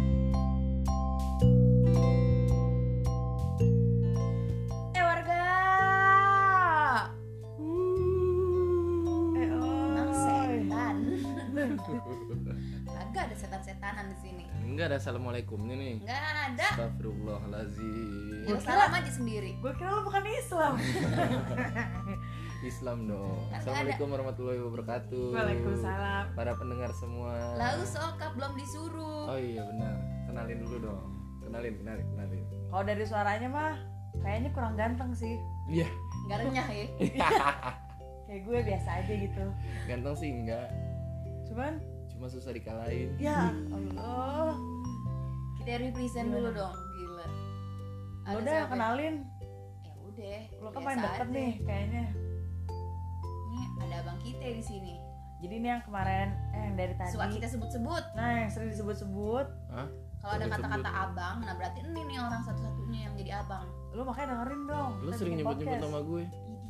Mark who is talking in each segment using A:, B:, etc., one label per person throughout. A: Eh,
B: Hmm.
A: Eh,
B: sini
C: Enggak ada assalamualaikumnya nih.
B: nggak ada
C: Astagfirullahalazim.
B: ya
A: Gua
B: salam aja sendiri
A: Gue kira lu bukan Islam.
C: Islam dong.
B: Kagak ada.
C: Assalamualaikum warahmatullahi wabarakatuh.
A: Waalaikumsalam.
C: Para pendengar semua.
B: lalu sokap belum disuruh
C: Oh iya benar. Kenalin dulu dong. Kenalin, kenalin, kenalin.
A: Kalau dari suaranya mah kayaknya kurang ganteng sih.
C: Iya.
B: nggak renyah ya
A: Kayak gue biasa aja gitu.
C: Ganteng sih enggak.
A: Cuman
C: Cuma susah dikalahin.
A: ya Allah.
B: kita
A: Gimana?
B: represent dulu dong gila Ada
A: udah
B: siapa?
A: kenalin.
B: ya udah
A: Lo kan
B: biasa
A: paling deket
B: aja.
A: nih kayaknya.
B: ini ada abang kita di sini
A: Jadi ini yang kemarin eh yang dari tadi.
B: suka kita sebut-sebut
A: Nah, yang sering disebut-sebut,
C: Hah?
B: kalau ada
C: Sebut-sebut.
B: kata-kata abang nah berarti ini nih orang satu-satunya yang jadi abang
A: lu makanya dengerin dong.
C: Lu
A: Kita
C: sering
A: bikin
C: nyebut-nyebut
A: podcast.
C: nama gue.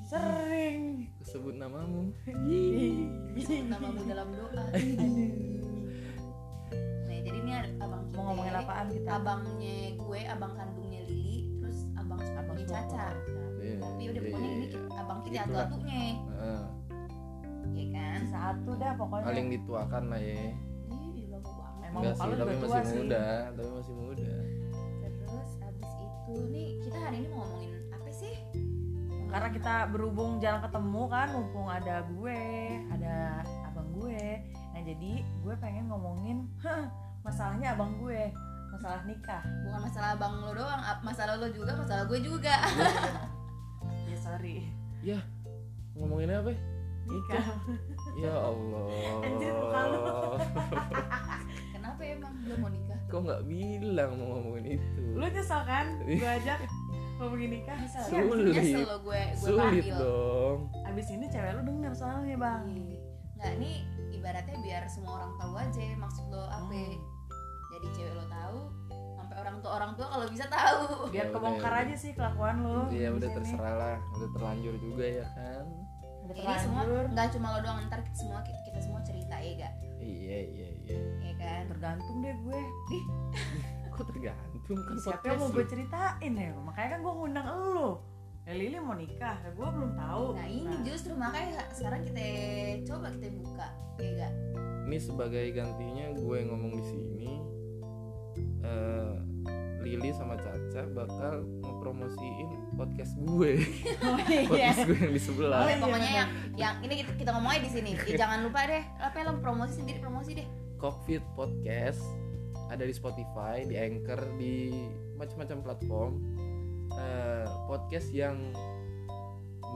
A: Sering.
C: Sebut namamu.
B: Sebut namamu dalam doa nah jadi ini ada abang kita
A: Mau ngomongin apaan kita?
B: abangnya gue abang kandungnya Lili terus
A: Abang
B: abang sepupunya Caca
C: Iya,
B: tapi Ya udah
C: iya,
B: pokoknya
C: iya,
B: ini
C: iya.
B: abang kita
C: Gitu
B: atu
C: lah.
B: atunya
C: Heeh.
B: ya kan
A: Satu dah pokoknya.
C: Paling dituakan lah ya.
B: Ih, lama Iya, banget
A: Emang
C: Enggak
A: muka
C: sih,
A: lu
C: tapi
A: udah tua
C: masih
A: sih.
C: muda, tapi masih muda.
B: terus abis itu nih kita hari ini mau ngomongin apa sih
A: Karena kita berhubung jarang ketemu kan, mumpung ada gue, ada abang gue. Nah, jadi gue pengen ngomongin masalahnya abang gue, masalah nikah.
B: bukan masalah abang lo doang ap- masalah lo juga masalah gue juga
A: Ya sorry.
C: Ya, ngomongin apa? ya?
A: Nikah.
C: Ya Allah.
A: Anjir, muka lu.
B: kenapa ya bang lo mau nikah
C: Kok nggak bilang mau ngomongin itu?
A: Lu nyesel kan? Gue
C: Iya.
A: ajak ngomongin nikah.
B: Nyesel.
A: Siap.
C: Sulit.
B: nyesel lo gue gue
C: Sulit
B: panggil
C: dong.
A: Abis ini cewek lu denger soalnya bang.
B: Iya. nggak nih ibaratnya biar semua orang tahu aja maksud lo apa ya?
A: Hmm.
B: jadi cewek lo tahu sampai orang tua orang tua kalau bisa
A: Biar
C: Ya
B: tahu
C: udah,
A: kebongkar
C: ya
A: aja sih kelakuan lu.
C: Iya
A: di
C: udah
A: sini.
C: terserah lah, udah terlanjur juga ya kan.
A: Udah
B: ini Iya, semua
A: terlanjur.
B: nggak cuma lo doang ntar kita semua kita, kita semua cerita ya gak
C: Iya iya iya.
B: ya kan
A: tergantung deh gue.
C: Kok tergantung kan
A: siapa
C: podcast
A: yang mau gue
C: lu?
A: ceritain ya makanya kan gue ngundang elu ya Lili mau nikah ya gue belum tahu
B: nah ini justru makanya sekarang kita coba kita buka ya gak
C: Ini sebagai gantinya gue ngomong di sini. eh, Lili sama Caca bakal ngepromosiin podcast gue,
A: oh, iya
C: podcast gue yang di
A: Oh,
C: sebelah.
A: iya,
B: pokoknya
A: benar.
B: yang yang ini kita, kita ngomongnya di sini Ya, jangan lupa deh apa ya, lo promosi sendiri promosi deh
C: Cockpit Podcast ada di Spotify, di Anchor, di macam-macam platform Eh, podcast yang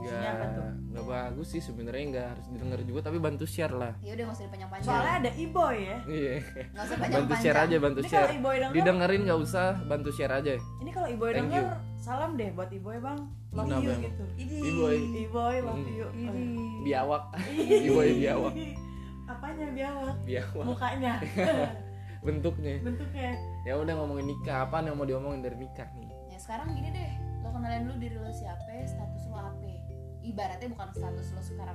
A: Isinya apa tuh?
C: nggak nggak bagus sih sebenarnya nggak harus didengar juga tapi bantu share lah
B: ya udah nggak usah dipanjang panjang
A: soalnya ada iboy ya
C: iya
B: nggak usah panjang
C: bantu share
B: panjang
C: aja bantu
A: ini kalau
C: share
A: iboy denger
C: didengerin nggak usah bantu share aja
A: ini kalau iboy
C: Thank
A: denger salam deh buat iboy bang love
C: Kenapa
A: you
C: emang?
A: gitu
C: Iboy.
A: iboy love
C: Hmm.
A: you Iya.
C: biawak
A: Ih.
C: Iboy biawak.
A: apanya biawak
C: biawak
A: mukanya
C: bentuknya
A: bentuknya
C: ya udah ngomongin nikah apa yang mau diomongin dari nikah nih
B: Ya sekarang gini deh, lo kenalin dulu diri lo siapa, status lo apa. Ibaratnya bukan status lo sekarang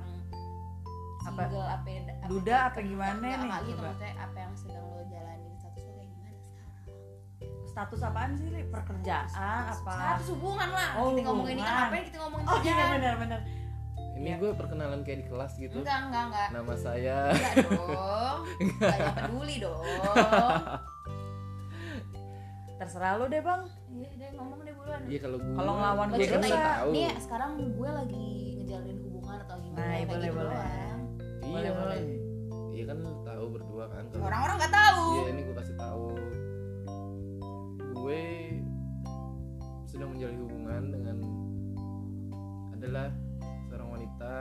A: Apa?
B: single apa, ya, apa,
A: Duda apa gimana
B: enggak,
A: nih,
B: enggak gitu
A: coba?
B: maksudnya apa yang sedang lo jalanin status lo kayak gimana sekarang?
A: status apaan sih Li? pekerjaan
B: Status-
A: Ah, apa
B: Status hubungan lah.
A: Oh,
B: kita ngomongin nikah
A: hubungan.
B: ngapain kita ngomongin
A: oh iya
B: kerjaan?
A: benar-benar
C: ini
A: Ya.
C: gue perkenalan kayak di kelas gitu
B: Enggak, enggak, enggak.
C: nama saya
B: Enggak dong. Enggak peduli dong.
A: terserah lu deh bang
B: Iya, deh ngomong deh buruan.
C: Iya kalau gue
A: Kalau ngelawan
B: Lo
A: gue
C: kan
B: cerita
A: dosa.
C: nggak
B: gitu.
C: tahu.
B: Nih, sekarang gue lagi ngejalanin hubungan atau gimana
A: Nah,
B: kayak
A: boleh,
B: gitu
A: boleh.
C: Iya
B: doang.
A: Boleh, boleh.
C: Iya kan lu tahu berdua kan kalau
B: Orang-orang enggak tahu.
C: Iya ini gue kasih tahu. Gue sedang menjalin hubungan dengan adalah seorang wanita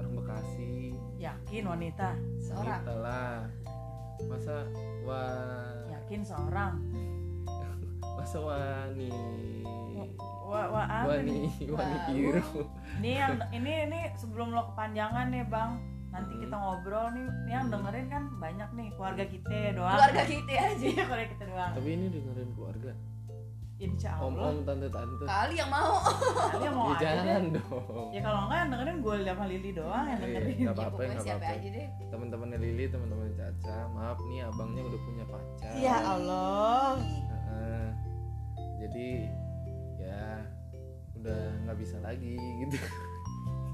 C: orang Bekasi
A: yakin wanita
B: Seorang
C: wanita lah masa wa
A: yakin seorang
C: masa wani
A: wah wah apa nih
C: wani wani
B: Wow.
C: biru
A: Ini yang ini ini sebelum lo kepanjangan nih bang. Nanti
C: Hmm.
A: kita ngobrol nih. Ini yang dengerin kan banyak nih keluarga kita doang.
B: keluarga kita aja
A: Iya, keluarga kita doang.
C: tapi ini dengerin keluarga
A: Insya
C: om
A: Allah.
C: om tante tante
B: kali yang mau Iya,
A: Kalian mau
C: ya
A: aja deh.
C: jangan dong
A: Ya kalau enggak yang dengerin gue sama Lili doang yang
C: Iya,
A: dengerin.
C: nggak
B: Ya,
C: apa-apa
B: pokoknya
C: nggak
B: siapa
C: apa-apa Iya.
B: aja deh
C: teman-temannya Lili, teman-teman Caca, maaf nih abangnya udah punya pacar.
B: Iya.
A: Ya Allah.
C: Heeh. jadi ya udah nggak bisa lagi gitu.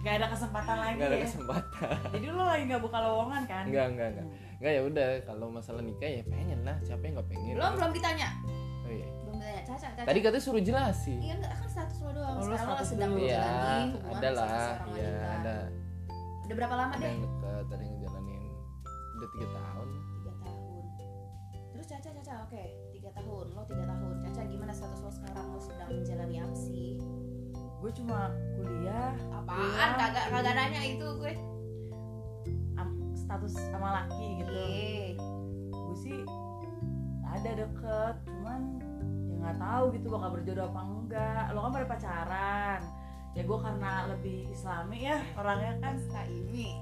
A: Gak ada kesempatan lagi
C: Nggak ada
A: ya.
C: kesempatan.
A: Jadi lo lagi gak buka lowongan kan?
C: Nggak nggak nggak. nggak ya udah kalau masalah nikah ya pengen lah siapa yang nggak pengen
B: belum belum ditanya
C: Oh, iya.
B: belum ditanya caca caca
C: tadi katanya suruh jelasin
B: iya nggak kan status lo doang
A: Oh, lo
B: sekarang lo
A: status
B: sedang
A: dulu.
C: Iya,
B: menjalani hubungan
C: ada
B: bersama
C: lah
B: seorang
C: ya
B: wanita.
C: ada
B: udah berapa lama
C: ada
B: deh
C: yang dekat ada yang ngejalanin udah tiga tahun
B: tiga tahun terus caca caca oke tiga tahun lo tiga tahun caca gimana status lo sekarang lo sedang menjalani apa sih
A: gue cuma kuliah
B: apaan
A: Iya.
B: kagak kagak nanya itu gue
C: Gitu.
A: am- status sama laki gitu
B: Iya.
A: gue sih ada deket cuman ya nggak tahu gitu bakal berjodoh apa enggak lo kan pada pacaran ya gue karena lebih islami ya orangnya kan
B: Asta ini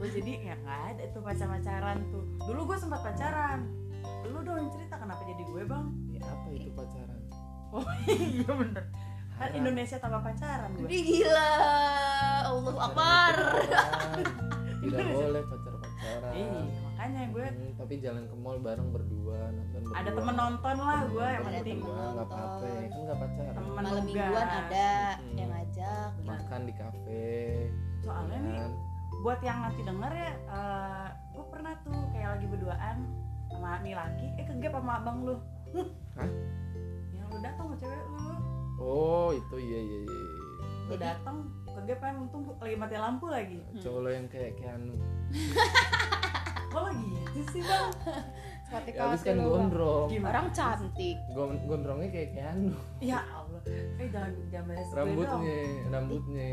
A: gue jadi ya nggak ada tuh pacar pacaran tuh dulu gue sempat pacaran lu dong yang cerita kenapa jadi gue bang
C: ya apa itu
B: Iya.
C: pacaran
A: oh iya bener kan
C: Haram.
A: Indonesia tambah pacaran gue
B: Jadi gila Allah
C: Pacaran
B: akbar
C: itu haram. tidak boleh pacar pacaran
A: iya makanya gue
C: Hmm, tapi jalan ke mall bareng berdua nonton berdua Iya,
A: ada temen nonton lah gue yang
B: Ada
A: penting
B: temen.
C: berdua nggak apa-apa
B: nonton.
C: kan nggak pacaran
A: temen
B: malam
A: nugas.
B: mingguan ada
C: Hmm.
B: yang ngajak
C: makan di kafe
A: soalnya nih
C: kan.
A: buat yang nanti denger ya gue pernah tuh kayak lagi berduaan sama nih laki eh kegep sama abang lu
C: Hah?
A: yang lu datang sama cewek lu
C: oh itu iya iya iya
A: lu
B: Jadi-
A: datang kegep kan untung lagi mati lampu lagi
C: cowok lo yang kayak Keanu
A: kok lagi gitu sih bang
B: Seperti
C: ya habis
B: kasih
C: kan
B: lo, Bang.
C: gondrong
A: Gimana?
B: orang cantik
C: Gon- gondrongnya kayak Keanu
A: ya allah eh jangan jangan bahas gue dong.
C: rambutnya rambutnya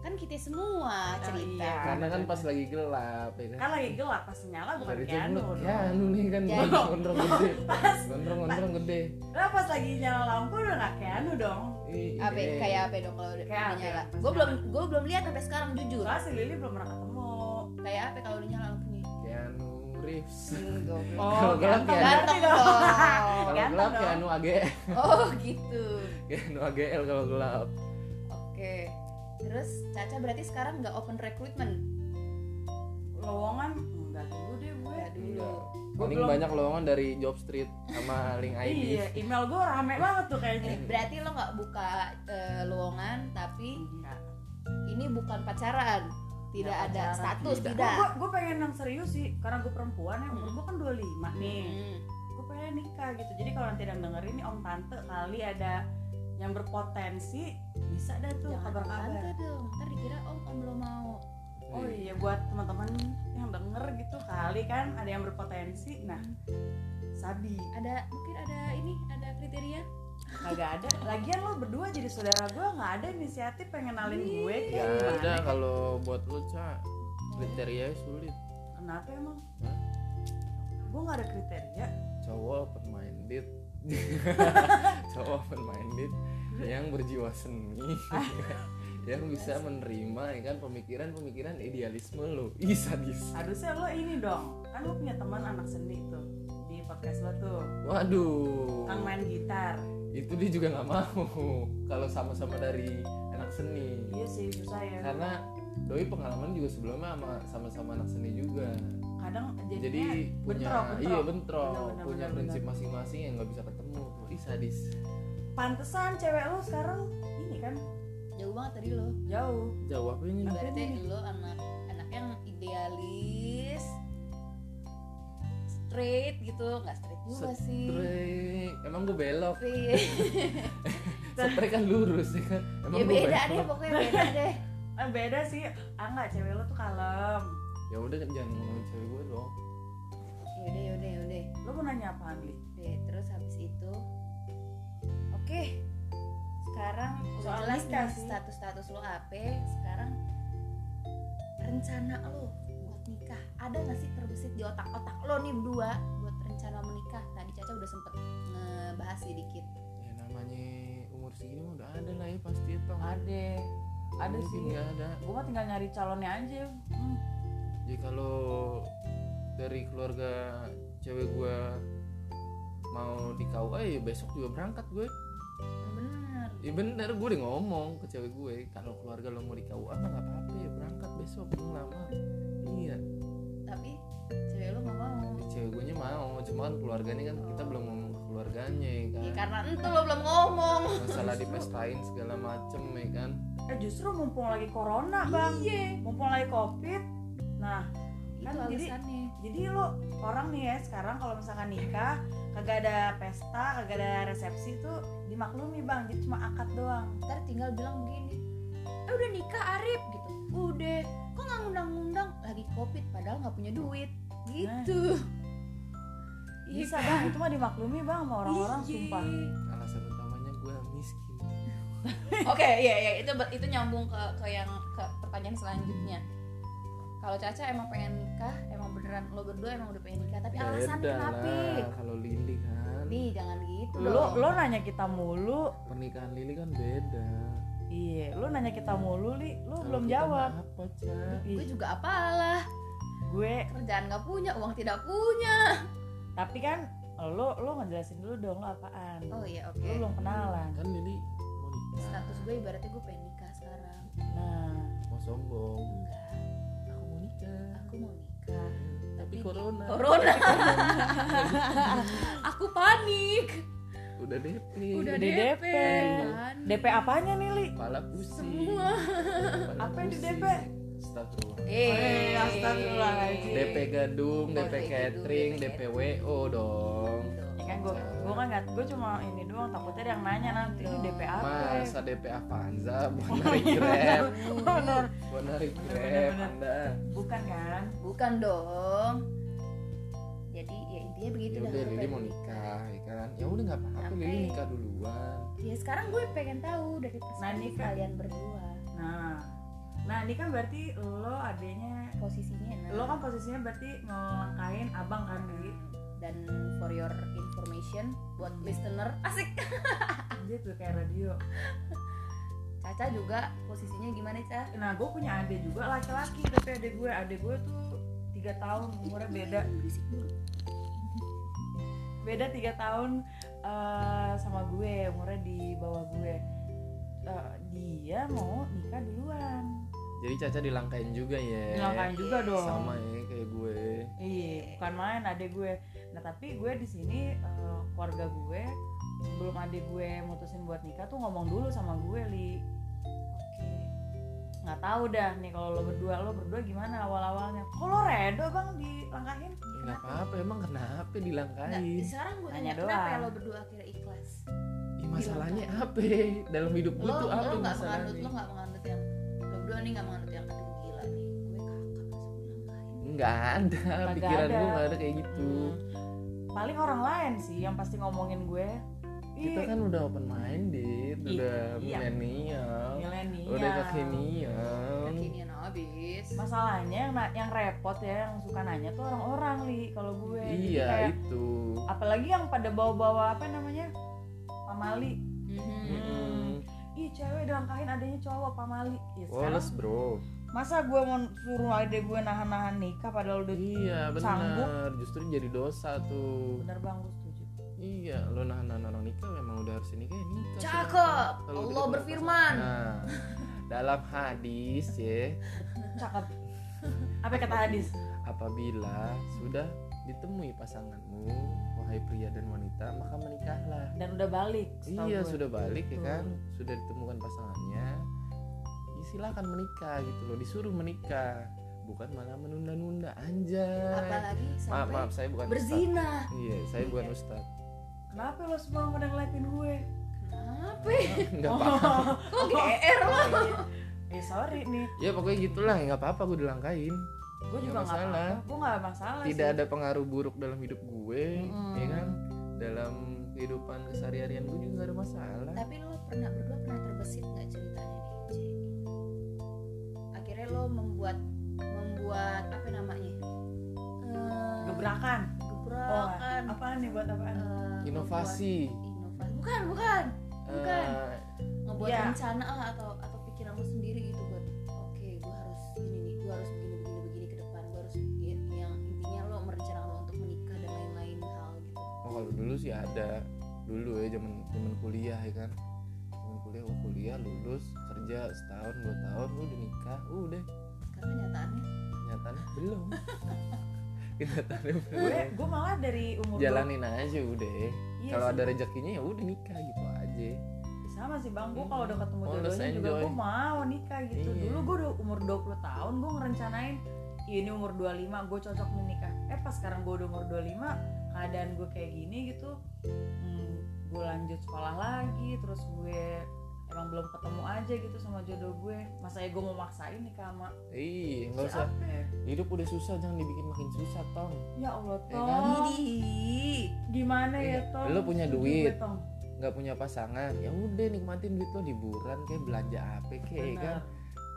B: kan kita semua
A: iya.
B: cerita
C: karena kan pas lagi gelap ya
A: kan lagi gelap pas nyala bukan
C: Dari
A: Keanu
C: jemlut,
A: dong.
C: Keanu nih kan
B: Jadi-
C: gondrong gede
A: pas
C: gondrong gondrong gede
A: lah pas lagi nyala lampu udah gak Keanu dong
C: Ih,
B: apa
C: iya.
B: kayak apa dong kalau udah
A: Kayak
B: udah
A: apa?
B: nyala
A: Pas
B: gue
A: nyala.
B: belum gue belum lihat sampai sekarang jujur
A: soalnya si Lili belum pernah ketemu
B: kayak apa kalau udah nyala lampunya
C: Keanu Reeves
B: Hmm, goblok.
C: Oh, Kalau gelap
A: ganteng
C: Keanu.
B: ganteng
A: berarti
B: dong
C: kalau
A: Ganteng
C: gelap
A: dong.
C: Keanu AGL
B: oh gitu
C: Keanu AGL kalau gelap
A: Iya.
B: oke terus Caca berarti sekarang nggak open recruitment
A: lowongan enggak dulu deh gue
B: nggak dulu
A: Gua
C: paling
A: belum-
C: banyak lowongan dari job street sama link ID
A: Iya, email gue rame banget tuh kayaknya.
B: Eh, berarti lo nggak buka eh, lowongan tapi ini bukan pacaran tidak
A: Nggak
B: ada
A: pacaran.
B: status
C: Tidak.
B: tidak,
A: Gue gue pengen yang serius sih, karena gue perempuan ya, umur gue kan 25 nih.
B: Hmm.
A: Gue pengen nikah gitu. Jadi kalau nanti yang dengerin nih om tante kali ada yang berpotensi bisa dah tuh
B: jangan
A: kabar-kabar.
B: tante dong ntar dikira om om lo mau
A: Oh iya buat teman-teman yang denger gitu kali kan ada yang berpotensi. Nah, Sabi
B: ada mungkin ada ini ada kriteria
A: kagak ada. Lagian lo berdua jadi saudara gue nggak ada inisiatif pengen nalin
B: Iya.
A: gue kayak
C: Gak
A: gimana?
C: ada kalau buat lu Ca Kriteria sulit
A: Kenapa emang?
C: Hah?
A: Gue nggak ada kriteria.
C: Cowok open minded Cowok open minded Yang berjiwa seni Yang bisa menerima ya kan Pemikiran-pemikiran idealisme lu Ih sadis
A: harusnya lo ini dong kan lo punya teman anak seni tuh di podcast lo tuh
C: Waduh
A: kan main gitar
C: Itu dia juga gak mau Kalau sama-sama dari anak seni
A: iya sih susah ya
C: Karena doi pengalaman juga sebelumnya sama sama-sama anak seni juga
A: kadang jadinya
C: jadi punya
A: bentrok, bentrok.
C: iya bentrok
A: Benar-benar,
C: punya
A: benar-benar.
C: prinsip masing-masing yang nggak bisa ketemu ih sadis
A: pantesan cewek lo sekarang ini kan
B: jauh banget tadi lo
A: jauh
C: jawabnya ini
B: berarti lo anak anak yang idealis straight gitu nggak straight juga sih
C: straight emang gue belok
B: Straight.
C: straight kan lurus ya kan emang
B: ya
C: gue
B: beda
C: belok
B: deh pokoknya beda deh
A: Eh, beda sih ah nggak cewek lo tuh kalem
C: ya udah jangan ngomongin cewek gue dong
B: yaudah yaudah yaudah
A: lo mau nanya apaan li
B: deh terus habis itu oke sekarang udah
A: Soal
B: jelas
A: nikah
B: nih
A: sih.
B: status status lo apa sekarang rencana lo buat nikah ada nggak sih terbesit di otak otak lo nih berdua buat rencana menikah tadi caca udah sempet ngebahas sedikit
C: ya namanya umur segini mah udah ada lah ya pasti ya tong
A: ada ada
C: Mungkin
A: sih.
C: nggak ada
A: gue mah tinggal nyari calonnya aja hmm.
C: jadi kalau dari keluarga cewek gue mau di KUA ya besok juga berangkat gue
B: Yang bener
C: Ya bener, gue udah ngomong ke cewek gue Kalau keluarga lo mau di KUA mah gak apa-apa ya Berangkat besok, gue ngelamar Iya,
B: tapi cewek lo nggak mau
C: ya, cewek gue nya mau Cuma kan keluarganya kan kita belum ngomong ke keluarganya ya
B: Ya,
C: kan
B: karena itu lo belum ngomong
C: Masalah dipestain segala macem ya kan
A: eh justru mumpung lagi corona bang
B: iya
A: mumpung lagi covid nah
B: itu
A: Kan jadi-
B: alasannya
A: jadi lo orang nih ya sekarang kalau misalkan nikah kagak ada pesta kagak ada resepsi tuh dimaklumi bang jadi cuma akad doang
B: ntar tinggal bilang begini eh udah nikah Arif gitu udah kok nggak ngundang-ngundang lagi covid padahal nggak punya duit gitu Iya
A: Nah. bisa bang itu mah dimaklumi bang sama orang-orang
B: Iya.
A: sumpah
C: alasan utamanya gue miskin
B: Oke, iya iya itu itu nyambung ke ke yang ke pertanyaan selanjutnya. Kalau Caca emang pengen nikah, emang beneran lo berdua emang udah pengen nikah, tapi
A: Ya
B: Ya, alasan
C: Beda
B: kenapa?
C: lah kalau Lili kan
B: Bi, jangan gitu
A: lo
B: dong.
A: lo nanya kita mulu
C: pernikahan Lili kan beda
A: iya lo nanya kita mulu li lo
C: Kalau
A: belum
C: kita
A: jawab
C: mah apa Cak?
B: gue
A: Ih,
B: juga apalah,
A: gue
B: kerjaan nggak punya, uang tidak punya.
A: tapi kan lo lo ngejelasin dulu dong lo apaan
B: Oh iya oke.
A: lo belum kenalan
C: kan Lili mau nikah
B: Status gue ibaratnya gue pengen nikah sekarang.
A: nah
C: mau sombong
B: Enggak,
C: aku mau nikah
B: aku mau nikah.
C: tapi
B: Tapi-
C: corona
B: Corona. Oh, aku panik.
C: udah DP
B: Udah
A: Udah
B: DP.
A: DP.
B: kan.
A: DP apanya nih li
C: kepala pusing
B: Semua.
C: Kepala
A: Apa yang di
C: pusing.
A: DP?
C: Status
B: Eh,
A: Eh, astagfirullahaladzim.
C: DP gadung,
B: Oh,
C: DP
B: DP
C: catering,
B: gedung,
C: DP WO dong
A: ya kan gue gue kan nggak gue cuma ini doang takutnya ada yang nanya nanti ini DP apa
C: Masa DP Avanza buat narik Grab
A: Honor.
C: Buat narik Grab
A: Bener-bener.
C: Anda
A: bukan kan
B: Bukan dong. Jadi ya intinya begitu
C: Ya
A: Gitu
B: dah,
C: udah
B: gue
C: Lili
B: pengen
C: mau nikah ya kan Ya udah gak apa-apa
B: Tapi-
C: Lili nikah duluan
B: Ya sekarang gue pengen tahu dari perspektif
A: nikah.
B: kalian berdua
A: nah nah ini kan berarti lo adanya
B: posisinya. Nah.
A: lo kan posisinya berarti ngelangkain abang kan li
B: dan for your information buat listener asik
A: Anjir tuh kayak radio
B: Caca juga posisinya gimana Ca?
A: nah gue punya adik juga laki-laki tapi adik gue adik gue tuh tiga tahun umurnya beda
B: Berisik dulu.
A: beda tiga tahun eh, sama gue umurnya di bawah gue Eh, dia mau nikah duluan
C: Jadi Caca dilangkain juga ya
A: Dilangkain juga dong
C: Sama ya kayak gue
A: Iya, bukan main adek gue. Nah, tapi gue di sini eh, keluarga gue sebelum adek gue mutusin buat nikah tuh ngomong dulu sama gue, Li. Oke. Nggak tahu dah nih kalau lo berdua, lo berdua gimana awal-awalnya? Kalau redo Bang dilangkahin?
C: Ya gak apa-apa emang kenapa
B: Nah,
C: dilangkain
B: sekarang gue
A: Tanya
B: tanya kenapa
A: doang.
B: ya lo berdua akhirnya ikhlas?
C: Ya, masalahnya apa dalam hidup gue
B: Lo
C: tuh apa
B: lo nggak mengandut
C: masalahnya
B: lo nggak mengandut yang lo berdua nih nggak mengandut yang aduh gila nih gue kakak sebulan lain.
C: Nggak ada
A: Kagak
C: pikiran
A: ada.
C: gue gak ada kayak gitu
A: Hmm. Paling orang lain sih yang pasti ngomongin gue.
C: Kita
A: "Ih,
C: kan udah open minded,
A: Iya.
C: udah
A: Iya.
C: milenial,
A: milenial.
C: udah kekinian.
B: Kekinian abis.
A: Masalahnya yang, yang repot ya, yang suka nanya tuh orang-orang, Li, kalau gue. Jadi
C: Iya
A: kayak,
C: itu.
A: apalagi yang pada bawa-bawa apa namanya pamali Hmm.
B: Mhm.
C: Mm-mm.
A: ih cewek dilangkahin adanya cowok pamali ya, sekarang
C: Woles bro.
A: masa gue mau suruh adek gue nahan-nahan nikah padahal udah
C: Iya
A: Sanggup.
C: benar. Justru jadi dosa tuh.
A: bener bang gue setuju
C: Iya, lo nahan nahan orang nikah memang udah harus nikah ya nikah.
B: Cakep.
C: Kalau gitu
B: Allah
C: kita punya
B: berfirman.
C: pasangan. Nah, dalam hadis ya,
A: cakep apa kata hadis
C: apabila sudah ditemui pasanganmu, wahai pria dan wanita, maka menikahlah.
A: dan udah balik setahu gitu.
C: Iya
A: gue.
C: sudah balik ya
A: Betul.
C: kan Sudah ditemukan pasangannya ya silakan menikah gitu loh Disuruh menikah Bukan malah menunda-nunda anjay
B: Apalagi
C: Maaf
B: sampai
C: maaf saya bukan ustad
B: berzina.
C: Iya saya bukan
A: Iya.
C: ustad
A: kenapa lo semua pada ngeliatin gue
B: Kenapa? ya? Oh.
C: Nggak apa-apa
B: Kok GR lo?
A: Oh, iya. eh sorry nih
C: Ya pokoknya gitulah nggak apa-apa gue dilangkain
A: gue
C: Nggak
A: juga nggak
C: masalah.
A: apa gue nggak masalah
C: Tidak
A: sih.
C: ada pengaruh buruk dalam hidup gue
A: Mm-mm.
C: Ya kan Dalam kehidupan kesehari-harian gue juga nggak ada masalah
B: Tapi lo pernah berdua pernah terbesit nggak ceritanya nih? Ci? Akhirnya lo membuat membuat apa namanya? Eh,
A: gebrakan Oh,
B: Gebrakan.
A: apaan nih buat apaan
B: Eh,
C: Oh, Inovasi
B: membuat Inovasi. Bukan bukan. bukan.
C: Eh,
B: Ngebuat
A: Iya.
B: rencana lah atau atau pikiran lo sendiri gitu buat. Oke, gue harus ini nih, gue harus begini begini begini ke depan, gue harus begini. yang intinya lo merencanakan untuk menikah dan lain-lain hal gitu.
C: Oh, kalau dulu sih ada dulu ya zaman zaman kuliah ya kan zaman kuliah wah kuliah lulus kerja setahun dua tahun udah nikah Oh, udah
B: Sekarang kenyataannya
C: kenyataannya belum kenyataannya
A: gue
C: belum
A: gue malah dari umur
C: jalanin aja udah
A: Iya
C: kalau
A: sih.
C: ada rezekinya ya udah nikah gitu aja
A: sama sih bang gue
C: Hmm.
A: kalau udah ketemu
C: Oh, let's
A: jodohnya juga
C: enjoy.
A: gue mau nikah gitu
C: Iya.
A: dulu gue udah umur 20 tahun gue ngerencanain "Ih, ini umur 25 gue cocok nih nikah eh pas sekarang gue udah umur 25 keadaan gue kayak gini gitu hmm, gue lanjut sekolah lagi terus gue emang belum ketemu aja gitu sama jodoh gue masa ya gue mau maksain nikah sama
C: Ih, Iya, nggak usah.
A: siapa ya?
C: Hidup udah susah, jangan dibikin makin susah, Tong.
A: ya allah
C: Ya
A: tong
C: kan?
B: Widih.
A: gimana ya
C: Iya.
A: tong
C: Lu punya
A: Setuju
C: duit.
A: gue, Tong.
C: Nggak punya pasangan, ya udah nikmatin duit lo liburan kayak belanja apa kayak ya kan.
A: Benar.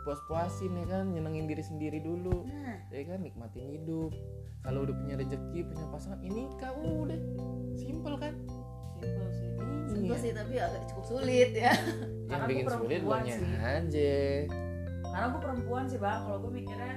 C: Puas-puasin ya kan, nyenengin diri sendiri dulu.
B: Nah,
C: Ya kan, nikmatin hidup. Kalau udah punya rezeki, punya pasangan, ini kau udah simple kan? Iya.
A: Simple sih.
B: simpel
A: Iya.
B: sih tapi agak cukup sulit ya.
C: Yang
A: Karena
C: bikin
A: gua
C: sulit lo
A: perempuan sih.
C: aja.
A: karena gue perempuan sih bang kalau gue mikirnya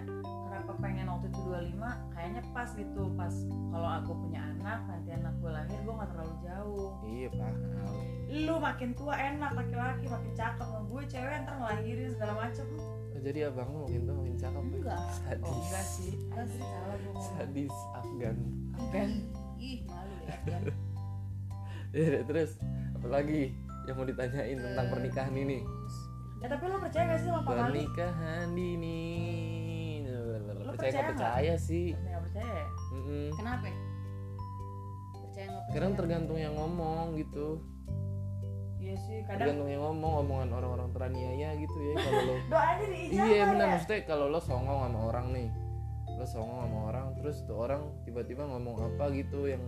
A: kenapa pengen waktu itu 25 kayaknya pas gitu pas kalau aku punya anak nanti anak gue lahir gue nggak terlalu jauh
C: Iya, paham.
A: lu makin tua enak laki-laki makin cakep sama gue cewek ntar ngelahirin segala macem
C: Oh, jadi abang lo makin tuh makin cakep. ya?
B: Enggak.
C: Sadis.
A: oh enggak sih Anjir, salah gue ngomong.
C: Sadis Afgan.
A: Afgan.
B: Ih, malu ya. Afgan.
C: Ya, terus apalagi yang mau ditanyain tentang
B: Eh,
C: pernikahan ini?
A: ya tapi lu percaya gak sih sama Pak Kali
C: Pernikahan dini.
A: Lu percaya
C: percaya nggak
A: nggak?
C: percaya sih?
A: percaya nggak percaya ya
C: Mm-mm.
B: Kenapa? Percaya nggak percaya?
C: Kadang tergantung yang ngomong gitu.
A: iya sih kadang
C: Tergantung yang ngomong, omongan orang-orang teraniaya gitu ya kalau lo.
A: doanya diijabah
C: Iya benar
A: ya
C: maksudnya kalau lo songong sama orang nih. Lo songong sama orang terus tuh orang tiba-tiba ngomong apa gitu yang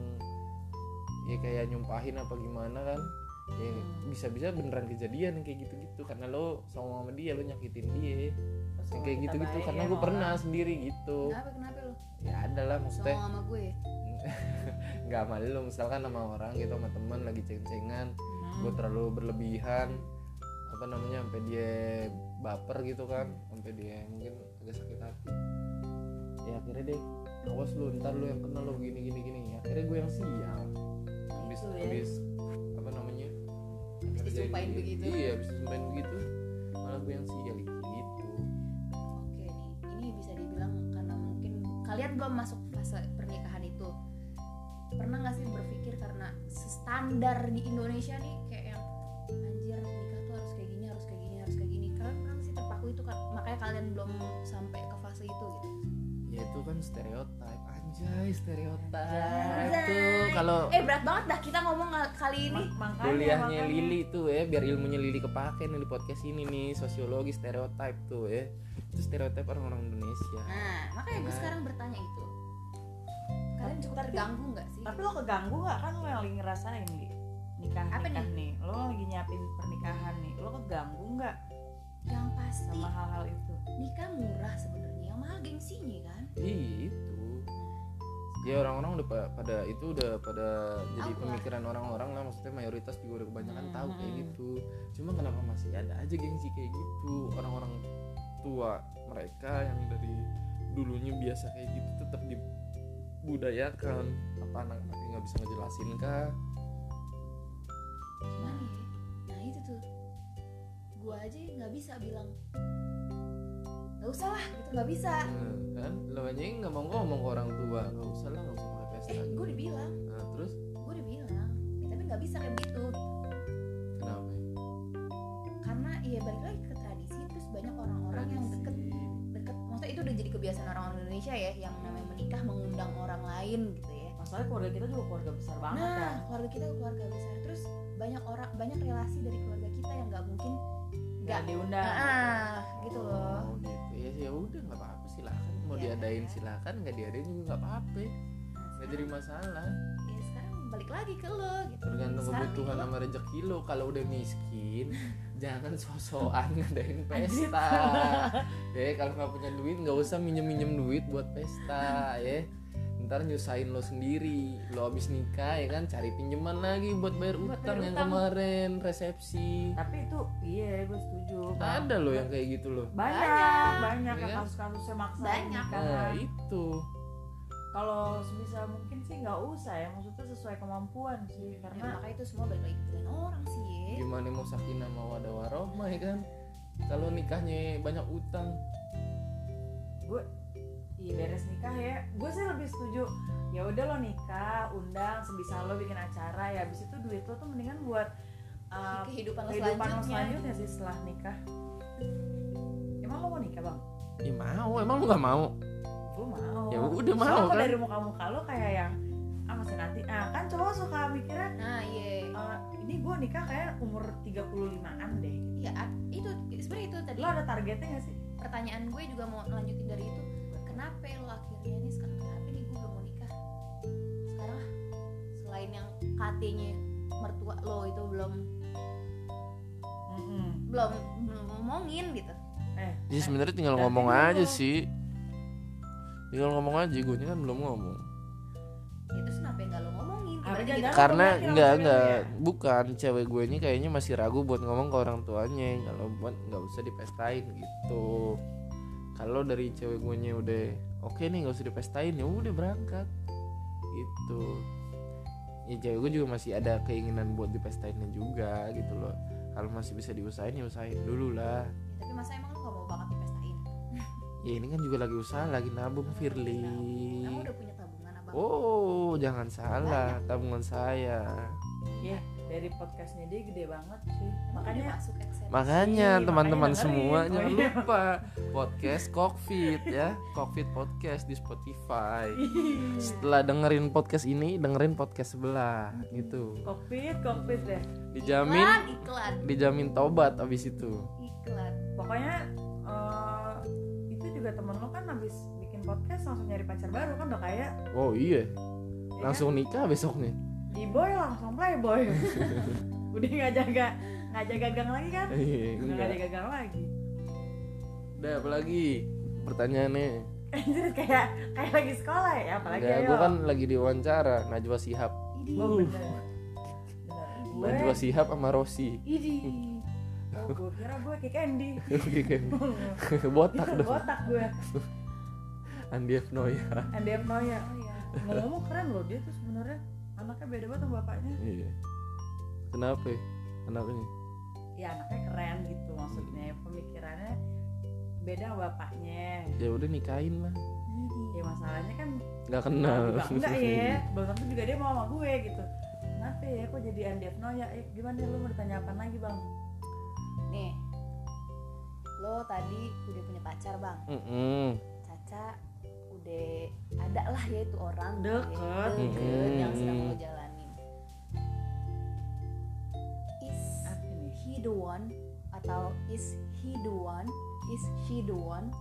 C: ya kayak nyumpahin apa gimana kan. Ya
A: Hmm.
C: bisa-bisa beneran kejadian kayak gitu-gitu karena lo songong sama dia, lo nyakitin dia.
A: Terus
C: Yang kayak
A: kita
C: gitu-gitu
A: baik
C: karena
A: ya
C: gue
A: sama
C: pernah
A: orang.
C: sendiri gitu.
B: Kenapa kenapa lu?
C: Ya ada lah maksudnya
B: Songong sama gue.
C: nggak sama lu misalkan sama orang gitu sama teman lagi ceng-cengan
A: Hmm.
C: gue terlalu berlebihan apa namanya sampai dia baper gitu kan sampai dia mungkin agak sakit hati ya akhirnya deh awas lu ntar lu yang kena lu gini gini gini akhirnya gue yang sial habis
A: Gitu ya.
C: habis apa namanya
B: Iya.
C: ngerjain
B: Habis disumpahin
C: dia.
B: begitu.
C: iya habis disumpahin begitu malah gue yang sial gitu
B: Oke nih, ini bisa dibilang karena mungkin kalian belum masuk fase pernikahan itu. Pernah nggak sih berpikir karena standar di Indonesia nih kayak yang anjir nikah tuh harus kayak gini, harus kayak gini, harus kayak gini. Kalian kan sih terpaku itu kan, makanya kalian belum sampai ke fase itu gitu.
C: ya itu kan stereotip anjay stereotip
B: Anjay.
C: tuh kalau
B: Eh berat banget dah kita ngomong kali ini.
A: Ma- makanya
C: kuliahnya
A: makanya.
C: Lili tuh ya biar ilmunya Lili kepake nih di podcast ini nih sosiologi stereotip tuh ya itu stereotip orang-orang Indonesia
B: Nah, makanya gue
C: Nah.
B: sekarang bertanya itu. Kalian cukup terganggu nggak sih?
A: Tapi lo keganggu gak kan lo yang lagi ngerasain di nikah
B: Apa
A: nikah nih? Lo lagi nyiapin pernikahan nih. Lo keganggu nggak
B: Yang pasti
A: sama hal-hal itu?
B: nikah murah sebenarnya, yang mahal gengsinya kan.
C: Ih, itu ya Gitu. orang-orang udah pa- pada itu udah pada jadi
B: Tahu lah.
C: pemikiran orang-orang lah maksudnya mayoritas juga udah kebanyakan
A: Hmm,
C: tahu kayak
A: hmm.
C: gitu cuma kenapa masih ada aja gengsi kayak gitu orang-orang tua mereka yang dari dulunya biasa kayak gitu tetap dibudayakan apa anak-anak nggak bisa ngejelasin kah
B: gimana ya nah itu tuh gue aja nggak bisa bilang nggak usah lah gitu nggak bisa
C: Nah, kan lo aja yang nggak mau ngomong ke orang tua nggak usah lah nggak usah mulai pesta
B: eh gue dibilang
C: nah, terus
B: gue dibilang ya, tapi nggak bisa kayak gitu
C: kenapa ya?
B: karena ya balik lagi ke tradisi terus banyak orang-orang yang
C: Tradisi.
B: deket gitu deket maksudnya itu udah jadi kebiasaan orang Indonesia ya yang namanya menikah mengundang orang lain gitu ya
A: Masalahnya keluarga kita juga keluarga besar banget kan.
B: nah keluarga kita keluarga besar terus banyak orang banyak relasi dari keluarga kita yang nggak mungkin
A: Gak
B: nggak
A: diundang.
B: ah gitu loh
C: oh, gitu ya ya udah nggak apa-apa silakan mau
B: Ya.
C: diadain silakan nggak diadain juga nggak apa-apa
B: nah,
C: nggak jadi
B: sekarang,
C: masalah
B: ya sekarang balik lagi ke lo gitu
C: tergantung
B: Sekarang
C: kebutuhan
B: nih,
C: sama rezeki lo kalau udah miskin jangan sosokan ngadain
A: Anjir.
C: pesta ya kalau nggak punya duit nggak usah minjem minjem duit buat pesta ya ntar nyusahin lo sendiri lo abis nikah ya kan cari pinjaman lagi buat bayar
A: Buat bayar
C: utang yang
A: utang.
C: kemarin resepsi
A: Tapi itu iya gue setuju.
C: ada lo yang kayak gitu loh
A: banyak banyak yang
C: Iya.
A: kasus-kasusnya maksa
B: Banyak.
C: nah itu
A: Kalau sebisa mungkin sih nggak usah ya. Maksudnya sesuai kemampuan sih
B: Ya,
A: karena
B: makanya itu semua balik lagi ke pilihan orang sih ya.
C: gimana mau sakinah mau ada warohmah ya kan kalau nikahnya banyak utang
A: Iya beres nikah ya, gue sih lebih setuju. Ya udah lo nikah, undang sebisa lo bikin acara ya. Abis itu duit lo tuh mendingan buat uh,
B: kehidupan lo
A: kehidupan lo
B: selanjutnya
A: selanjutnya sih setelah nikah. Emang lo mau nikah bang?
C: ya mau emang lo nggak mau
A: gue mau
C: Ya udah mau
A: Soalnya kalau
C: kan?
A: dari muka muka lo kayak yang ah masih nanti ah kan cowok suka mikirnya
B: nah iya
A: "Eh, ini gue nikah kayak umur 35an deh
B: ya ad- itu sebenarnya itu tadi
A: lo ada targetnya gak sih
B: pertanyaan gue juga mau lanjutin dari itu kenapa lo akhirnya nih sekarang kenapa nih gue belum mau nikah sekarang ah, selain yang katanya mertua lo itu belum
A: Mm-mm.
B: belum belum ngomongin gitu
A: eh
C: Jadi sebenarnya tinggal
A: Berarti
C: ngomong
A: dulu.
C: aja sih. Tinggal ngomong aja, gue kan belum ngomong.
B: ya terus kenapa nggak lo ngomongin
A: Apa
B: Ibaratnya
A: jangan-
B: gitu.
C: Karena
A: ngomong lagi
C: enggak
A: langsung
C: enggak
A: aja
C: bukan cewek gue ini kayaknya masih ragu buat ngomong ke orang tuanya. Kalau buat nggak usah dipestain gitu. Kalau dari cewek gue nya udah oke nih nggak usah dipestain ya udah berangkat gitu. Ya cewek gue juga masih ada keinginan buat dipestainnya juga gitu loh. Kalau masih bisa diusahain ya usahain dulu lah.
B: Ya, tapi masa emang lo gak mau banget dipestain
C: Ya ini kan juga lagi usaha, lagi nabung Firly.
B: kamu udah punya tabungan abang
C: Oh, jangan salah tabungan saya.
A: Iya, dari podcastnya dia gede banget sih
B: Emang udah
A: makanya
B: masuk Excel
C: Iya, Makanya
A: Ih,
C: teman-teman
A: makanya
C: semua
A: dengerin.
C: jangan
A: Oh, iya.
C: lupa podcast Covid ya, Covid podcast di Spotify.
B: Iya.
C: Setelah dengerin podcast ini, dengerin podcast sebelah gitu.
A: covid covid deh
C: Dijamin
B: iklan
C: dijamin tobat abis itu.
B: iklan
A: pokoknya eh, itu juga temen lo kan habis bikin podcast langsung nyari pacar baru kan udah kayak
C: Oh
A: ya
C: iya, langsung nikah besoknya.
A: kan? di boy langsung playboy udah nggak jaga nggak jaga gang lagi kan
C: Iya,
A: udah nggak
C: enggak.
A: jaga gang lagi
C: Udah apalagi pertanyaannya.
A: Anjir kayak kayak lagi sekolah ya apalagi
C: Enggak,
A: ayo
C: gue kan uh. lagi diwawancara Najwa Sihab.
B: Idi.
A: Gua bener bener
C: Najwa
A: gue
C: Sihab sama Rosi.
A: ini oh gue kira gue kayak Andy
C: Oke, oke. botak dong.
A: botak gue
C: Andi F. Noya.
A: Andy F. Noya
B: Oh, iya.
A: ngomong keren loh dia tuh sebenarnya anaknya beda banget sama bapaknya
C: Iya. Kenapa? ya? Anaknya.
A: ya anaknya keren gitu maksudnya pemikirannya beda sama bapaknya
C: Ya udah nikahin lah.
A: ya masalahnya kan
C: Nggak kenal.
A: juga enggak ya belum tentu juga dia mau sama gue gitu kenapa ya kok jadi Andi F. Noya eh, gimana lu mau ditanya apa lagi bang
B: nih lo tadi udah punya pacar bang
C: Mm-mm.
B: Caca udah ada lah ya itu orang
A: Deket.
B: gitu ya, deket yang sedang lo
C: Mm.
B: jalanin is
A: apa nih
B: he the one atau is he the one is she the one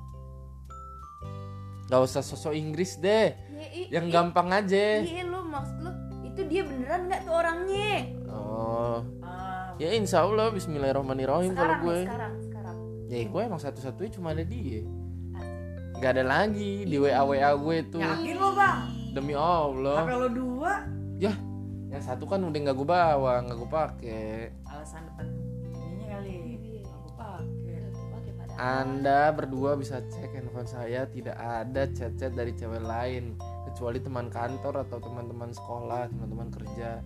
C: Nggak usah sosok Inggris deh.
B: ya, i-
C: Yang
B: i-
C: gampang aja.
B: iya lo maksud lo itu dia beneran nggak tuh orangnya
C: Oh.
A: Ah,
C: Ya insya Allah Bismillahirrahmanirrahim kalau
B: sekarang
C: gue.
B: nih, sekarang sekarang
C: Ya gue emang satu-satunya cuma ada dia.
B: Asik.
C: Nggak ada lagi di WA WA gue tuh.
A: Ya. Yakin lo, Bang?
C: Demi Allah. Ya,
A: Apa lo dua
C: Yang satu kan udah nggak gue bawa, nggak gue pakai.
A: alasan depan ininya kali aku pakai
B: Oke, padahal.
C: Anda berdua bisa cek handphone saya tidak ada chat-chat dari cewek lain kecuali teman kantor atau teman-teman sekolah, teman-teman kerja.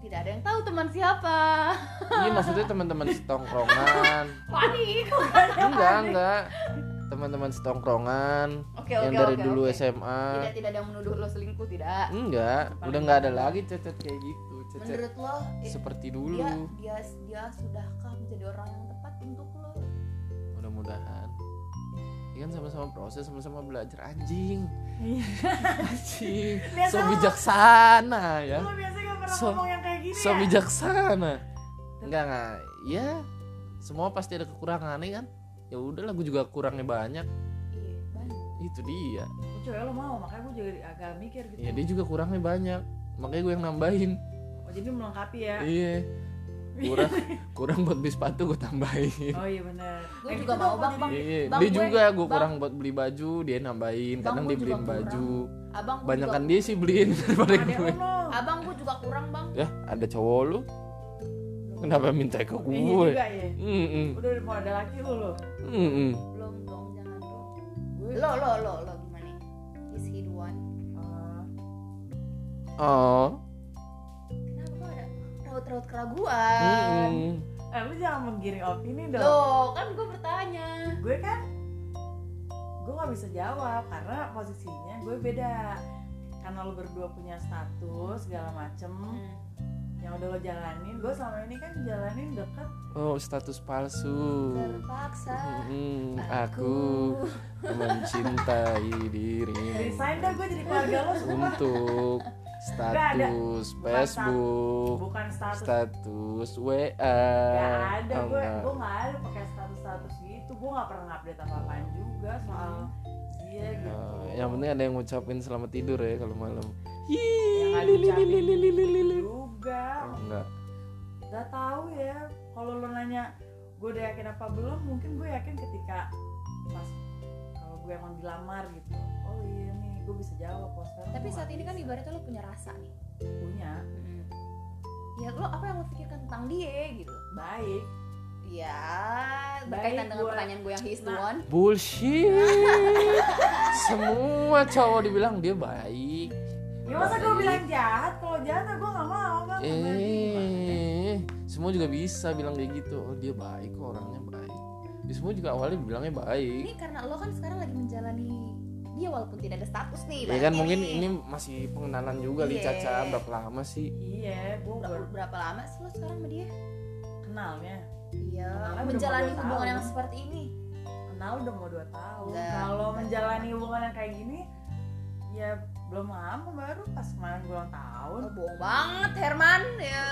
B: tidak ada yang tahu teman siapa
C: Ini Iya, maksudnya teman-teman setongkrongan.
B: panik
C: Enggak, enggak. Teman-teman setongkrongan
B: oke
C: yang dari dulu SMA.
B: tidak tidak ada yang menuduh lo selingkuh tidak
C: Enggak, udah nggak ada lagi chat-chat kayak gitu, chat-chat
B: menurut lo eh,
C: seperti
B: dia
C: dulu.
B: dia dia sudahkah menjadi orang yang tepat untuk lo
C: Mudah-mudahan. Ini kan sama-sama proses, sama-sama belajar anjing.
B: Iya.
C: Anjing.
A: Biasa
C: So
A: lo-
C: bijaksana ya.
A: lo biasanya gak pernah
C: So-
A: ngomong yang kayak gini
C: so
A: ya
C: bijaksana Iya. enggak enggak ya semua pasti ada kekurangannya kan ya udahlah gue juga kurangnya banyak
B: iya banyak
C: itu dia
A: Oh, cewek lo mau makanya gue juga agak mikir gitu
C: ya dia juga kurangnya banyak makanya gue yang nambahin
A: oh, jadi melengkapi ya
C: iya kurang kurang buat beli sepatu gue tambahin
A: oh iya benar
B: Gue juga mau, Bang, Bang.
C: Iya,
B: Bang,
C: dia
B: gue-
C: juga gue
B: Bang.
C: kurang buat beli baju dia nambahin
B: Bang,
C: kadang
B: gue
C: dia beliin
B: juga kurang.
C: baju
B: abang gua
C: banyak kan
B: juga,
C: dia sih beliin daripada
A: ada
C: gue
A: lo
B: abang gue juga kurang bang
C: ya ada cowok lu kenapa minta ke
A: Iya
C: gue
A: juga ya
C: Mm-mm,
A: udah mau ada laki lu lo
C: mm-mm.
B: belum dong jangan dong
A: Gue-
B: lo lo lo lo gimana is he the one
A: Ah,
C: oh
B: kenapa lo ada raut-raut keraguan
C: mm-mm.
A: eh lu jangan menggiring opini dong
B: lo kan gue bertanya
A: gue kan gue nggak bisa jawab karena
B: Hmm.
A: posisinya gue beda karena lu berdua punya status segala macem yang udah lo jalanin gue selama ini kan jalanin deket
C: oh status palsu
B: Hmm, terpaksa
C: Mm-mm, aku mencintai dirimu
A: resign dah gue jadi keluarga lo semua
C: untuk status
A: Bukan
C: Facebook
A: bukan status
C: status WA
A: Gak ada
C: Oh,
A: gue,
C: enggak.
A: gue gak ada pakai status-status gitu Gue gak pernah update apa-apaan juga soal dia gitu
C: Oh, yang penting ada yang ngucapin selamat tidur ya kalau malam
A: Yang ada ucapin juga
C: Oh, enggak
A: Gak tahu ya Kalau lo nanya gue udah yakin apa belum Mungkin gue yakin ketika pas kalau gue emang dilamar gitu Oh iya nih gue bisa jawab kok sekarang
B: tapi
A: gue
B: saat
A: gak
B: ini kan
A: bisa.
B: ibaratnya lo punya rasa nih
A: Punya
B: ya lo apa yang lo pikirkan tentang dia gitu
A: baik
B: ya
A: Baik,
B: berkaitan dengan
A: gua-
B: pertanyaan gue yang his the
A: Nah.
B: one
C: bullshit semua cowok dibilang dia baik
A: Ya masa gue
C: Baik.
A: bilang jahat Kalau jahat gue gak mau apa
C: eh semua juga bisa bilang kayak gitu oh dia baik kok orangnya baik Dia semua juga awalnya bilangnya baik
B: ini karena lo kan sekarang lagi menjalani dia walaupun tidak ada status
C: ya
B: nih
C: kan
B: berarti
C: mungkin
B: nih.
C: ini masih pengenalan juga di
B: Iya.
C: Caca berapa lama sih
A: Iya gue
B: Ber-
A: baru
B: berapa lama sih lo sekarang sama dia
A: kenalnya
B: iya
A: Kenalnya
B: menjalani
A: udah dua
B: hubungan
A: tahun.
B: yang seperti ini
A: kenal udah mau 2 tahun.
B: Enggak,
A: Kalau
B: enggak.
A: menjalani hubungan yang kayak gini ya belum lama baru pas kemarin gue ulang tahun.
B: lo Oh, bohong banget Herman ya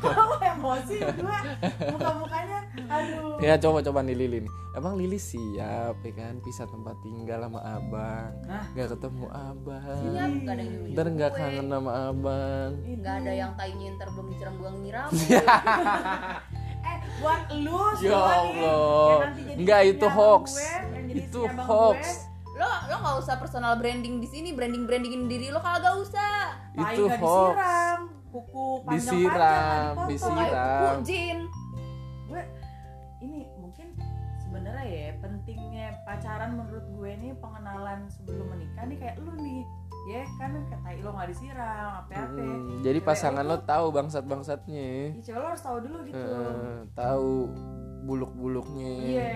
A: Kalau emosi gue muka-mukanya aduh.
C: ya coba coba nih Lili nih emang Lili siap ya kan pisah tempat tinggal sama abang
A: Nah.
C: nggak ketemu abang
B: siap gak ada yang nyuruh
C: ntar nggak kangen sama abang
A: Ini.
B: nggak ada yang tai nyinter belum disiram gua nyiram
C: Iya.
A: eh buat lu
C: Ya
A: semua nih,
C: Allah.
A: yang nanti jadi
C: Enggak,
A: istrinya
C: itu
A: abang
C: hoax.
A: gue, yang jadi
C: itu
A: istrinya abang
C: hoax
B: lo lo nggak usah personal branding di sini branding brandingin diri lo kagak usah
A: gue, tai
C: itu
A: nggak
C: hoax
A: disiram, kuku panjang-panjang
C: Disiram,
A: nggak dipotong.
C: disiram.
B: kayak jin
A: gue ini mungkin sebenarnya ya pentingnya pacaran menurut gue ini pengenalan sebelum menikah nih kayak lu nih ya kan kata lo nggak disiram apa apa
C: Hmm, jadi pasangan lo tahu bangsat bangsatnya
A: ya, cewek lo harus tahu dulu gitu
C: Eh. tahu buluk buluknya
A: iya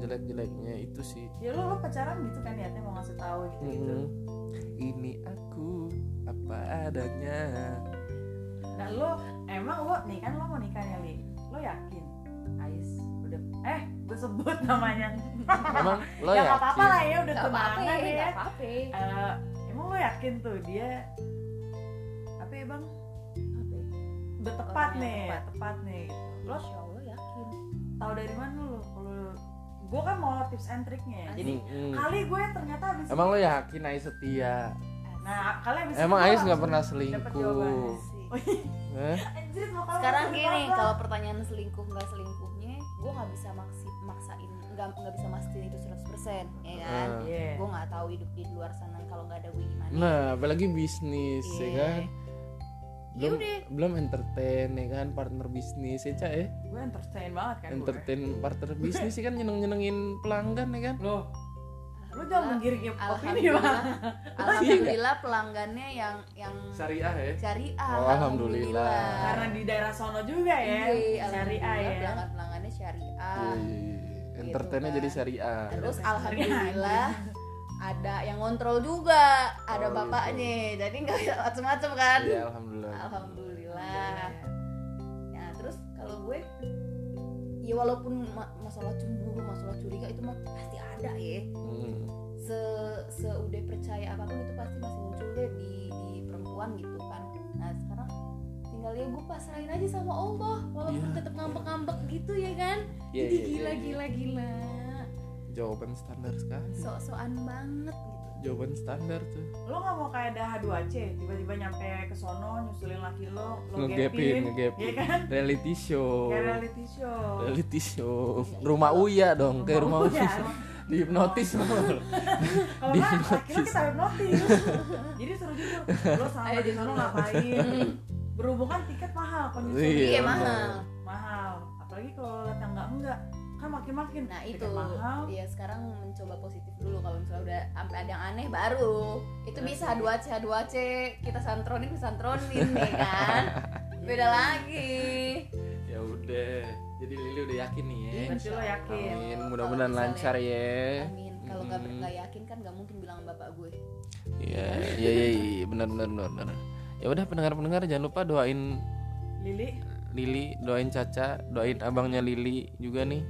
C: jelek jeleknya itu sih
A: ya lo lo pacaran gitu kan niatnya mau ngasih tahu gitu gitu
C: Mm-mm. ini aku apa adanya
A: nah lo emang lo nih kan lo mau nikah ya li lo yakin Ais udah eh gue sebut namanya
C: emang lo
A: ya nggak apa-apa
C: yakin
A: lah ya udah
B: nggak apa-apa
A: tunangan ya
B: nggak apa-apa
A: Eh, emang lo yakin tuh dia apa ya bang udah tepat
B: Orangnya
A: nih
B: tepat.
A: tepat. nih gitu. lo
B: Insya Allah yakin
A: tahu dari mana lo kalau gue kan mau tips and triknya ya jadi
C: Mm-mm.
A: kali gue ternyata habis
C: emang lo yakin Ais setia
A: nah kali habis
C: emang
A: itu
C: Ais
A: gua
C: nggak pernah
A: dapet jawaban.
C: selingkuh Eh?
B: Asik.
C: Hah?
A: Anjir, mau kalau
B: sekarang
A: masih
B: gini
A: apa?
B: kalau pertanyaan selingkuh nggak selingkuhnya gue nggak bisa maksi, maksain nggak nggak bisa mastiin itu 100% ya kan
C: Eh.
A: Iya.
B: gue nggak tahu hidup di luar sana kalau nggak ada gue gimana
C: nah apalagi bisnis ya
B: Iya.
C: kan
A: Ya
C: belum
B: Yaudah.
C: belum entertain ya kan partner bisnis ya Ca, ya
A: gue entertain banget kan gue
C: entertain partner bisnis sih kan nyeneng nyenengin pelanggan ya kan
A: lo lo jangan menggiring ya opini bang
B: alhamdulillah alhamdulillah pelanggannya yang yang
C: syariah ya
B: syariah
C: Oh, alhamdulillah.
A: karena di daerah sono juga ya
B: Iya,
A: syariah ya
B: pelanggan pelanggannya
A: Iya.
C: Iya,
B: syariah
C: entertainnya
B: Gitu kan.
C: jadi syariah
B: terus
A: Syariah.
B: alhamdulillah ada yang ngontrol juga
C: Oh,
B: ada bapaknya jadi nggak bisa macem-macem kan
C: Iya, alhamdulillah
B: alhamdulillah Nah terus kalau gue ya walaupun ma- masalah cemburu, masalah curiga itu mah pasti ada ya.
C: Hmm.
B: Se seudah percaya apapun itu pasti masih muncul deh di di perempuan gitu kan. Nah sekarang tinggal ya gue pasrahin aja sama Allah walaupun
C: Iya.
B: tetap ngambek-ngambek gitu ya kan.
C: Iya,
B: Jadi
C: iya, iya,
B: gila
C: iya.
B: gila gila.
C: jawaban standar sekali
B: Sok-sokan banget gitu.
C: jawaban standar tuh
A: lo nggak mau kayak ada H2C tiba-tiba nyampe ke sono nyusulin laki lo lo
C: ngegapin
A: gapin
C: ngegapin
A: ya kan
C: reality show
A: kayak
B: Ya,
A: reality show ya,
C: reality show
B: Iya,
C: rumah Uya dong kayak rumah Uya dihipnotis loh.
A: kalau
C: Di
A: nggak laki lo
C: hipnotis.
A: kita hipnotis jadi suruh jujur lo sama
B: Ayo
A: di sono
B: jujur.
A: ngapain berhubung kan tiket mahal kalau nyusul
C: Iya,
B: Iya
C: benar.
B: mahal.
A: mahal apalagi kalau lihat yang nggak enggak kan makin-makin
B: Nah
A: tiket
B: itu
A: mahal
B: ya sekarang mencoba positif dulu kalau misalnya udah sampai ada yang aneh baru itu
A: Benar
C: Iya.
B: bisa H2C H2C kita santronin kita santronin nih kan beda lagi
C: ya udah jadi Lili udah yakin nih ya
A: berarti lo Iya, yakin
C: amin mudah-mudahan
B: Iya, Kalau
C: lancar
B: misalnya-
C: ya
B: Amin kalau nggak ya.
C: Mm-mm.
B: nggak yakin kan nggak mungkin bilang sama bapak gue
C: Iya, iya, iya, iya, benar, benar, benar, benar. ya udah pendengar-pendengar jangan lupa doain
A: Lili
C: Lili, doain Caca, doain abangnya Lili juga nih.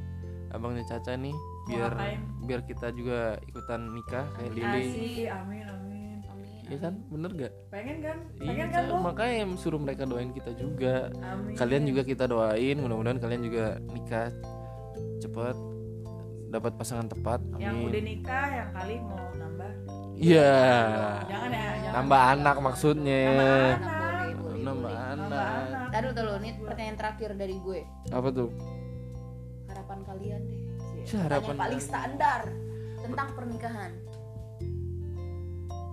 C: Abangnya Caca nih biar
A: ngapain?
C: biar kita juga ikutan nikah kayak Lili.
A: Asik, amin amin
B: Amin.
C: Iya kan? Bener gak?
A: pengen kan
C: Iya,
A: pengen kan Oh, iya. lo
C: makanya suruh mereka doain kita juga.
A: amin
C: Kalian juga kita doain, mudah-mudahan kalian juga nikah cepet dapat pasangan tepat.
A: yang udah
C: Amin.
A: nikah yang kali mau nambah
C: Iya.
A: jangan ya jangan
C: Nambah anak maksudnya.
A: Nambah
B: Anak boleh, boleh,
C: Nambah
B: boleh.
A: nambah
C: anak.
A: anak
B: Taduh tuh ini pertanyaan terakhir dari gue.
C: Apa tuh?
B: Harapan kalian deh.
C: Cih,
B: Harapan
C: harapan
B: paling standar tentang pernikahan.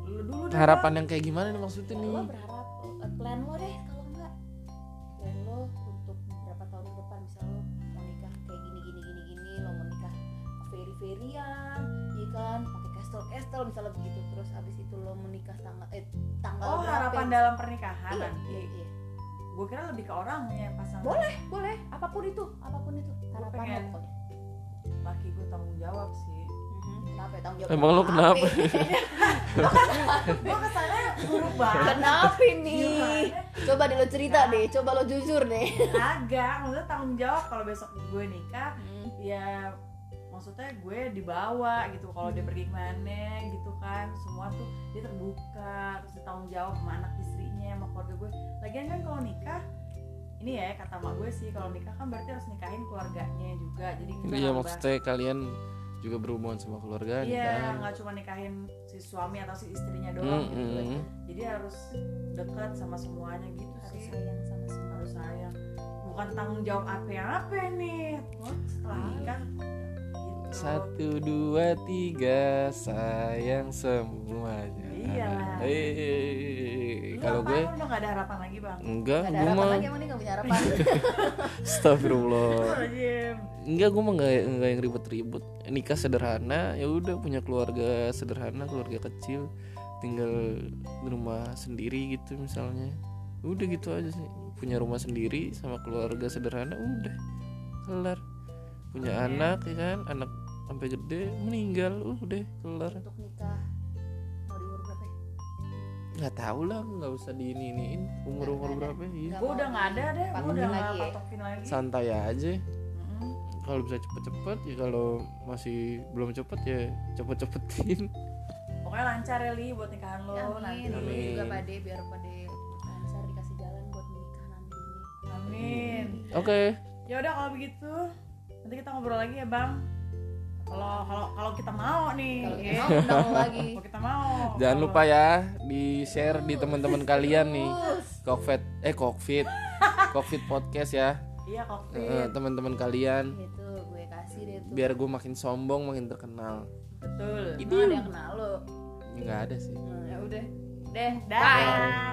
A: lu dulu deh
C: harapan yang kayak gimana nih maksudnya
B: Lo
C: Gitu nih?
B: berharap eh, plan lo deh kalau enggak plan lo untuk beberapa tahun ke depan misal lo mau nikah kayak gini gini gini gini lo mau nikah fairy fairyan ya kan pakai kastel kastel misalnya begitu terus abis itu lo menikah tanggal eh tanggal
A: oh
B: berapa
A: harapan
B: ya?
A: dalam pernikahan
B: iya,
A: nanti
B: iya, iya.
A: gue kira lebih ke orangnya pasangan
B: Boleh. boleh apapun itu apapun itu harapan lo
A: pengen.
B: pokoknya
A: laki gue tanggung jawab sih
B: Mhm, Kenapa ya tanggung jawab?
C: Emang lo kenapa?
A: gue kesana buruk banget
B: Kenapa nih? Iya. Coba deh lo cerita deh, coba lo jujur deh.
A: agak maksudnya tanggung jawab kalau besok gue nikah ya maksudnya gue dibawa gitu kalau dia pergi kemana gitu kan semua tuh dia terbuka terus dia tanggung jawab sama anak istrinya sama keluarga gue lagian kan kalau nikah ini ya kata mak gue sih kalau nikah kan berarti harus nikahin keluarganya juga jadi kita
C: Iya
A: nambah-
C: maksudnya kalian juga berhubungan sama keluarga nih
A: iya
C: kan?
A: nggak cuma nikahin si suami atau si istrinya doang gitu
C: Mm-mm.
A: jadi harus dekat sama semuanya gitu
B: Harus
A: sih
B: sayang sama semua.
A: harus sayang bukan tanggung jawab apa-apa nih Wah, setelah nikah gitu
C: Satu dua tiga sayang semuanya.
A: Iyalah.
C: Hei,
A: Lu
C: kalau
A: apaan?
C: gue
A: Lu udah gak ada harapan lagi bang
C: enggak,
B: Gak ada
C: gue
B: harapan
C: mah
B: lagi emang nih gak punya harapan.
C: astagfirullah.
A: Astagfirullahaladzim.
C: Enggak, gue mah enggak, enggak yang ribet-ribet. Nikah sederhana, ya udah punya keluarga sederhana, keluarga kecil, tinggal di rumah sendiri gitu misalnya. Udah gitu aja sih. Punya rumah sendiri sama keluarga sederhana udah. Kelar. Punya
A: Oke.
C: anak ya kan, anak sampai gede meninggal udah kelar.
B: Untuk nikah mau di umur berapa? ya?
C: nggak tahu lah nggak usah diiniin umur umur
B: Nggak ada.
C: berapa ya
B: Nggak
A: Gue udah gak ada deh Gue
B: Patokin
A: udah
B: lagi
A: gak
B: ya.
A: patokin lagi
C: santai aja
A: Mm-mm.
C: kalau bisa cepet cepet ya kalau masih belum cepet ya cepet cepetin
A: Pokoknya lancar ya Li Buat nikahan lo nanti
B: Amin. Amin.
C: Amin.
B: Juga pade biar pade lancar dikasih jalan buat menikah nanti.
A: Amin
C: oke
A: Ya udah kalau begitu Nanti kita ngobrol lagi ya bang Kalau kalau kalau kita mau nih
B: Kalau
A: ya.
B: kita mau undang lo lagi.
A: Kalau kita mau
C: jangan
A: Kalau-
C: lupa ya di share di teman teman kalian nih
B: Terus.
C: covid eh covid covid podcast ya
A: Iya
B: Eh,
A: kopi
C: teman teman kalian
B: Itu gue kasih deh tuh.
C: biar gue makin sombong makin terkenal
A: Betul
B: Gitu. Emang ada yang kenal lo. Ya
C: nggak ada sih
B: Gitu. Nah, ya udah. Deh,
A: Dah